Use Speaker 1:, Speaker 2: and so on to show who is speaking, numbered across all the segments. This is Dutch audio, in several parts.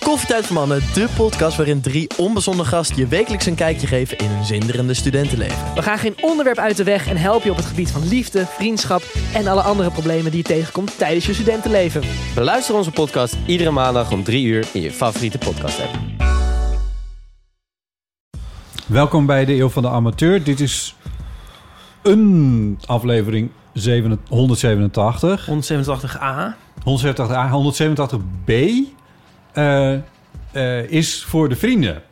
Speaker 1: Koffietijd voor Mannen, de podcast waarin drie onbezonnen gasten je wekelijks een kijkje geven in hun zinderende studentenleven.
Speaker 2: We gaan geen onderwerp uit de weg en helpen je op het gebied van liefde, vriendschap en alle andere problemen die je tegenkomt tijdens je studentenleven.
Speaker 3: Beluister onze podcast iedere maandag om 3 uur in je favoriete podcast app.
Speaker 4: Welkom bij de Eeuw van de Amateur. Dit is een aflevering 7 187.
Speaker 1: 187a.
Speaker 4: 187a, 187b ah, eh, eh, is voor de vrienden.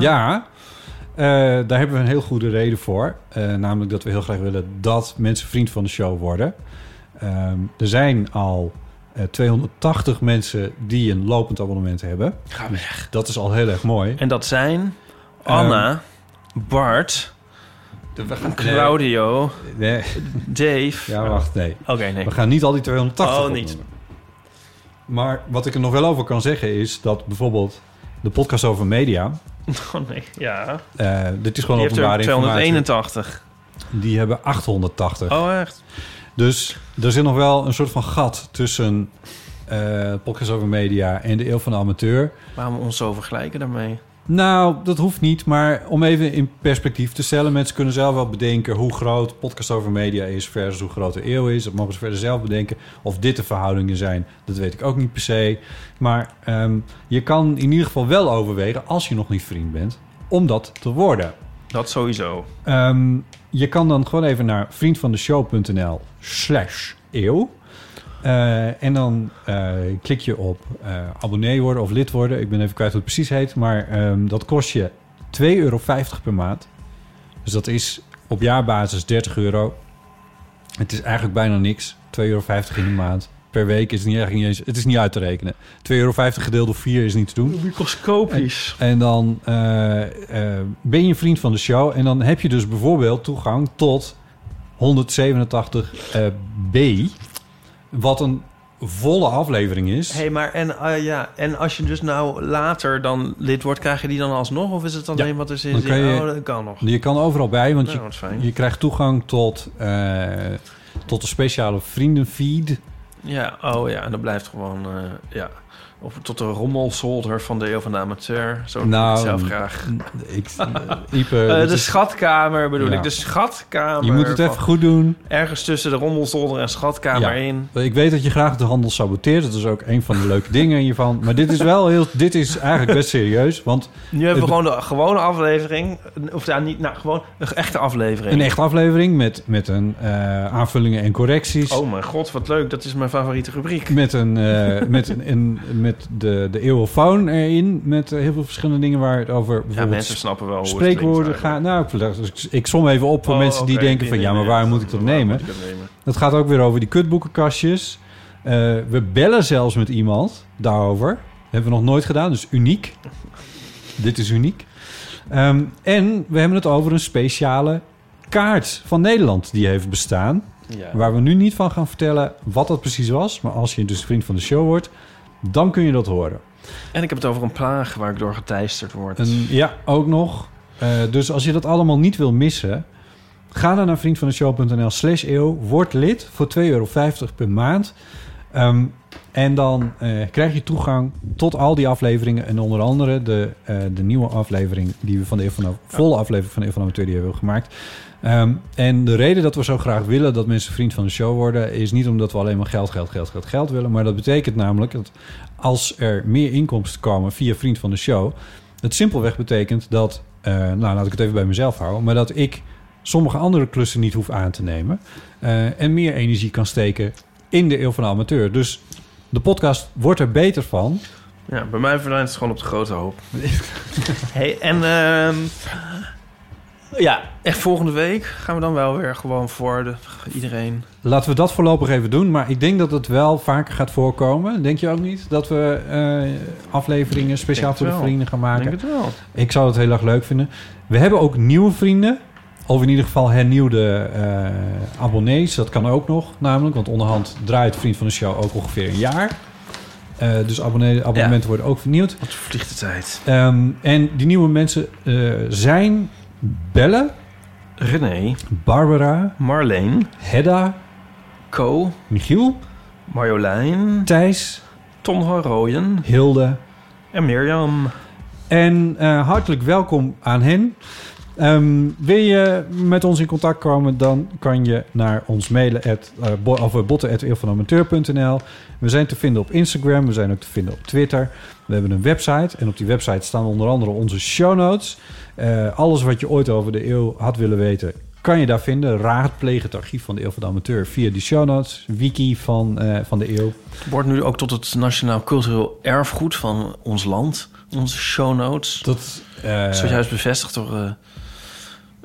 Speaker 4: Ja, eh, daar hebben we een heel goede reden voor. Eh, namelijk dat we heel graag willen dat mensen vriend van de show worden. Ehm, er zijn al eh, 280 mensen die een lopend abonnement hebben.
Speaker 1: Ga weg.
Speaker 4: Dat is al heel erg mooi.
Speaker 1: En dat zijn Anna, Bart,
Speaker 4: We gaan
Speaker 1: Claudio,
Speaker 4: Nee, nee.
Speaker 1: Dave.
Speaker 4: Ja, wacht, nee.
Speaker 1: Oké, nee.
Speaker 4: We gaan niet al die 280
Speaker 1: Oh,
Speaker 4: opnoemen.
Speaker 1: niet.
Speaker 4: Maar wat ik er nog wel over kan zeggen is dat bijvoorbeeld de podcast over media...
Speaker 1: Oh, nee. Ja.
Speaker 4: eh, dit is
Speaker 1: Die
Speaker 4: gewoon
Speaker 1: heeft er
Speaker 4: openbare informatie.
Speaker 1: 281.
Speaker 4: Die hebben 880.
Speaker 1: Oh, echt?
Speaker 4: Dus er zit nog wel een soort van gat tussen eh podcast over media en de eeuw van de amateur.
Speaker 1: Waarom ons zo vergelijken daarmee?
Speaker 4: Nou, dat hoeft niet, maar om even in perspectief te stellen... mensen kunnen zelf wel bedenken hoe groot podcast over media is... versus hoe groot de eeuw is. Dat mogen ze verder zelf bedenken. Of dit de verhoudingen zijn, dat weet ik ook niet per se. Maar ehm, je kan in ieder geval wel overwegen, als je nog niet vriend bent... om dat te worden.
Speaker 1: Dat sowieso.
Speaker 4: Ehm, je kan dan gewoon even naar vriendvandeshow.nl slash eeuw. Eh, en dan eh, klik je op eh, abonnee worden of lid worden. Ik ben even kwijt hoe het precies heet. Maar ehm, dat kost je 2,50 euro per maand. Dus dat is op jaarbasis 30 euro. Het is eigenlijk bijna niks. 2,50 euro in de maand. Per week is niet, echt niet eens, het is niet uit te rekenen. 2,50 euro gedeeld door 4 is niet te doen.
Speaker 1: Microscopisch.
Speaker 4: En dan eh, eh, ben je vriend van de show. En dan heb je dus bijvoorbeeld toegang tot 187 eh, B. Wat een volle aflevering is.
Speaker 1: hey, maar en, eh, ja, en als je dus nou later dan lid wordt, krijg je die dan alsnog? Of is het alleen
Speaker 4: Ja.
Speaker 1: wat er zin
Speaker 4: Dan
Speaker 1: in?
Speaker 4: kan je-
Speaker 1: Oh, dat kan nog.
Speaker 4: Je kan overal bij, want
Speaker 1: Nou,
Speaker 4: je,
Speaker 1: wat fijn.
Speaker 4: je krijgt toegang tot, eh, tot een speciale vriendenfeed.
Speaker 1: Ja, oh ja, en dat blijft gewoon, eh, ja. Of tot de rommelzolder van de eeuw van de amateur. Zo noem ik
Speaker 4: Nou,
Speaker 1: het zelf graag.
Speaker 4: Ik, Ipe,
Speaker 1: Eh,
Speaker 4: dit
Speaker 1: de
Speaker 4: is-
Speaker 1: schatkamer bedoel
Speaker 4: Ja.
Speaker 1: ik. De schatkamer.
Speaker 4: je moet het even
Speaker 1: van-
Speaker 4: goed doen.
Speaker 1: Ergens tussen de rommelzolder en schatkamer
Speaker 4: Ja.
Speaker 1: in.
Speaker 4: Ik weet dat je graag de handel saboteert. Dat is ook een van de leuke dingen hiervan. Maar dit is wel heel... Dit is eigenlijk best serieus. Want
Speaker 1: Nu hebben we
Speaker 4: Het-
Speaker 1: gewoon de gewone aflevering. Of daar niet, nou, gewoon een echte aflevering.
Speaker 4: Een echte aflevering met, met een eh, aanvullingen en correcties.
Speaker 1: Oh mijn god, wat leuk. Dat is mijn favoriete rubriek.
Speaker 4: Met, een, eh, met, een, een- met de, de eeuwofoon erin. Met eh, heel veel verschillende dingen waar het over
Speaker 1: Ja,
Speaker 4: bijvoorbeeld
Speaker 1: mensen snappen wel hoe het klinkt
Speaker 4: spreekwoorden
Speaker 1: eigenlijk.
Speaker 4: gaat. Nou, ik, verleg- dus ik- ik som even op voor
Speaker 1: Oh,
Speaker 4: mensen die
Speaker 1: oké,
Speaker 4: denken
Speaker 1: nee,
Speaker 4: van...
Speaker 1: nee,
Speaker 4: ja, maar
Speaker 1: nee,
Speaker 4: waar
Speaker 1: dat-
Speaker 4: moet ik dat
Speaker 1: waar
Speaker 4: nemen?
Speaker 1: moet ik dat nemen?
Speaker 4: Dat gaat ook weer over die kutboekenkastjes. Eh, we bellen zelfs met iemand daarover. hebben we nog nooit gedaan, dus uniek. Dit is uniek. Ehm, en we hebben het over een speciale kaart van Nederland die heeft bestaan.
Speaker 1: Ja.
Speaker 4: Waar we nu niet van gaan vertellen wat dat precies was. Maar als je dus vriend van de show wordt, dan kun je dat horen.
Speaker 1: En ik heb het over een plaag waar ik door geteisterd word.
Speaker 4: En ja, ook nog. eh, dus als je dat allemaal niet wil missen... ga dan naar vriendvandeshow.nl slash eeuw. Word lid voor 2,50 euro per maand. Ehm, en dan eh, krijg je toegang tot al die afleveringen. En onder andere de, eh, de nieuwe aflevering... die we van de Eeuw van de- volle aflevering van de Eeuw van de Amateur... die hebben we gemaakt. Ehm, en de reden dat we zo graag willen dat mensen vriend van de show worden... is niet omdat we alleen maar geld, geld, geld, geld, geld willen... maar dat betekent namelijk dat als er meer inkomsten komen via vriend van de show... Het simpelweg betekent dat, eh, nou laat ik het even bij mezelf houden, maar dat ik sommige andere klussen niet hoef aan te nemen. eh, en meer energie kan steken in de eeuw van de amateur. Dus de podcast wordt er beter van.
Speaker 1: Ja, bij mij verdwijnt het gewoon op de grote hoop. hey, en ehm,
Speaker 5: Ja,
Speaker 1: Echt volgende week gaan we dan wel weer gewoon voor de, iedereen.
Speaker 4: Laten we dat voorlopig even doen. Maar ik denk dat het wel vaker gaat voorkomen. Denk je ook niet? Dat we eh, afleveringen speciaal
Speaker 1: Denk het
Speaker 4: voor de
Speaker 1: wel.
Speaker 4: vrienden gaan
Speaker 1: Ik
Speaker 4: maken.
Speaker 1: denk het wel.
Speaker 4: Ik zou het heel erg leuk vinden. We hebben ook nieuwe vrienden. Of in ieder geval hernieuwde eh, abonnees. Dat kan ook nog namelijk. Want onderhand draait Vriend van de Show ook ongeveer een jaar. Eh, dus abonnee, abonnementen worden ook vernieuwd.
Speaker 1: Wat vliegt de tijd.
Speaker 4: Ehm, en die nieuwe mensen eh, zijn Belle,
Speaker 1: René,
Speaker 4: Barbara,
Speaker 1: Marleen,
Speaker 4: Hedda,
Speaker 1: Co,
Speaker 4: Michiel,
Speaker 1: Marjolein,
Speaker 4: Thijs,
Speaker 1: Ton van Rooyen
Speaker 4: Hilde.
Speaker 1: en Mirjam.
Speaker 4: En eh, hartelijk welkom aan hen. Ehm, wil je met ons in contact komen, dan kan je naar ons mailen at, eh, bo- of, eh, botten@eelvanamateur.nl. We zijn te vinden op Instagram, we zijn ook te vinden op Twitter. We hebben een website en op die website staan onder andere onze show notes. Eh, alles wat je ooit over de eeuw had willen weten, kan je daar vinden. Raadpleeg het archief van de Eeuw van de Amateur via die show notes, wiki van, eh, van de eeuw.
Speaker 1: Het wordt nu ook tot het nationaal cultureel erfgoed van ons land. Onze show notes.
Speaker 4: Dat, eh,
Speaker 1: Zojuist bevestigd door eh,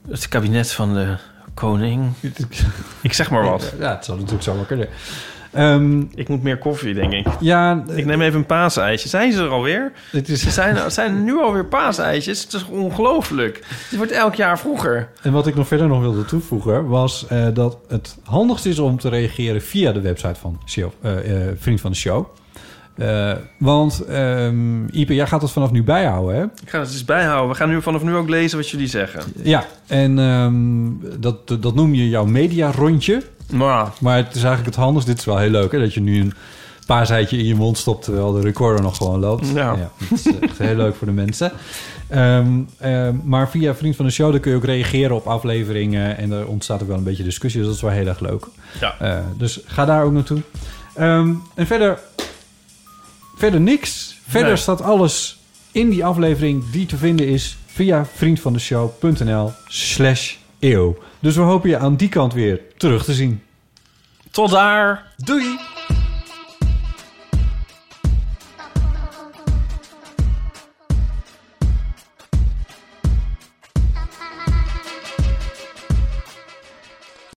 Speaker 1: het kabinet van de koning. Ik eh, zeg maar wat.
Speaker 4: Ja, het zou natuurlijk zo wel kunnen. Ehm,
Speaker 1: Ik moet meer koffie, denk ik.
Speaker 4: ja, eh,
Speaker 1: Ik neem even een paaseitje. Zijn ze er alweer?
Speaker 4: het is
Speaker 1: Ze zijn, het zijn nu alweer paaseitjes. Het is ongelooflijk. Het wordt elk jaar vroeger.
Speaker 4: En wat ik nog verder nog wilde toevoegen was eh, dat het handigst is om te reageren via de website van show, eh, eh, Vriend van de Show. Eh, want ehm Ipe, jij gaat dat vanaf nu bijhouden, hè?
Speaker 1: Ik ga het eens bijhouden. We gaan nu vanaf nu ook lezen wat jullie zeggen.
Speaker 4: Ja, en ehm, dat, dat noem je jouw media-rondje.
Speaker 1: Maar
Speaker 4: Maar het is eigenlijk het handigst. Dit is wel heel leuk, hè? Dat je nu een paaseitje in je mond stopt... terwijl de recorder nog gewoon loopt.
Speaker 1: Ja.
Speaker 4: dat is echt heel leuk voor de mensen. Ehm, ehm, maar via Vriend van de Show... daar kun je ook reageren op afleveringen... en er ontstaat ook wel een beetje discussie. Dus dat is wel heel erg leuk.
Speaker 1: Ja.
Speaker 4: Eh, dus ga daar ook naartoe. Ehm, en verder... Verder niks. Verder
Speaker 1: Nee.
Speaker 4: staat alles in die aflevering... die te vinden is via vriendvandeshow.nl slash E eeuw. Dus we hopen je aan die kant weer terug te zien.
Speaker 1: tot daar.
Speaker 4: Doei!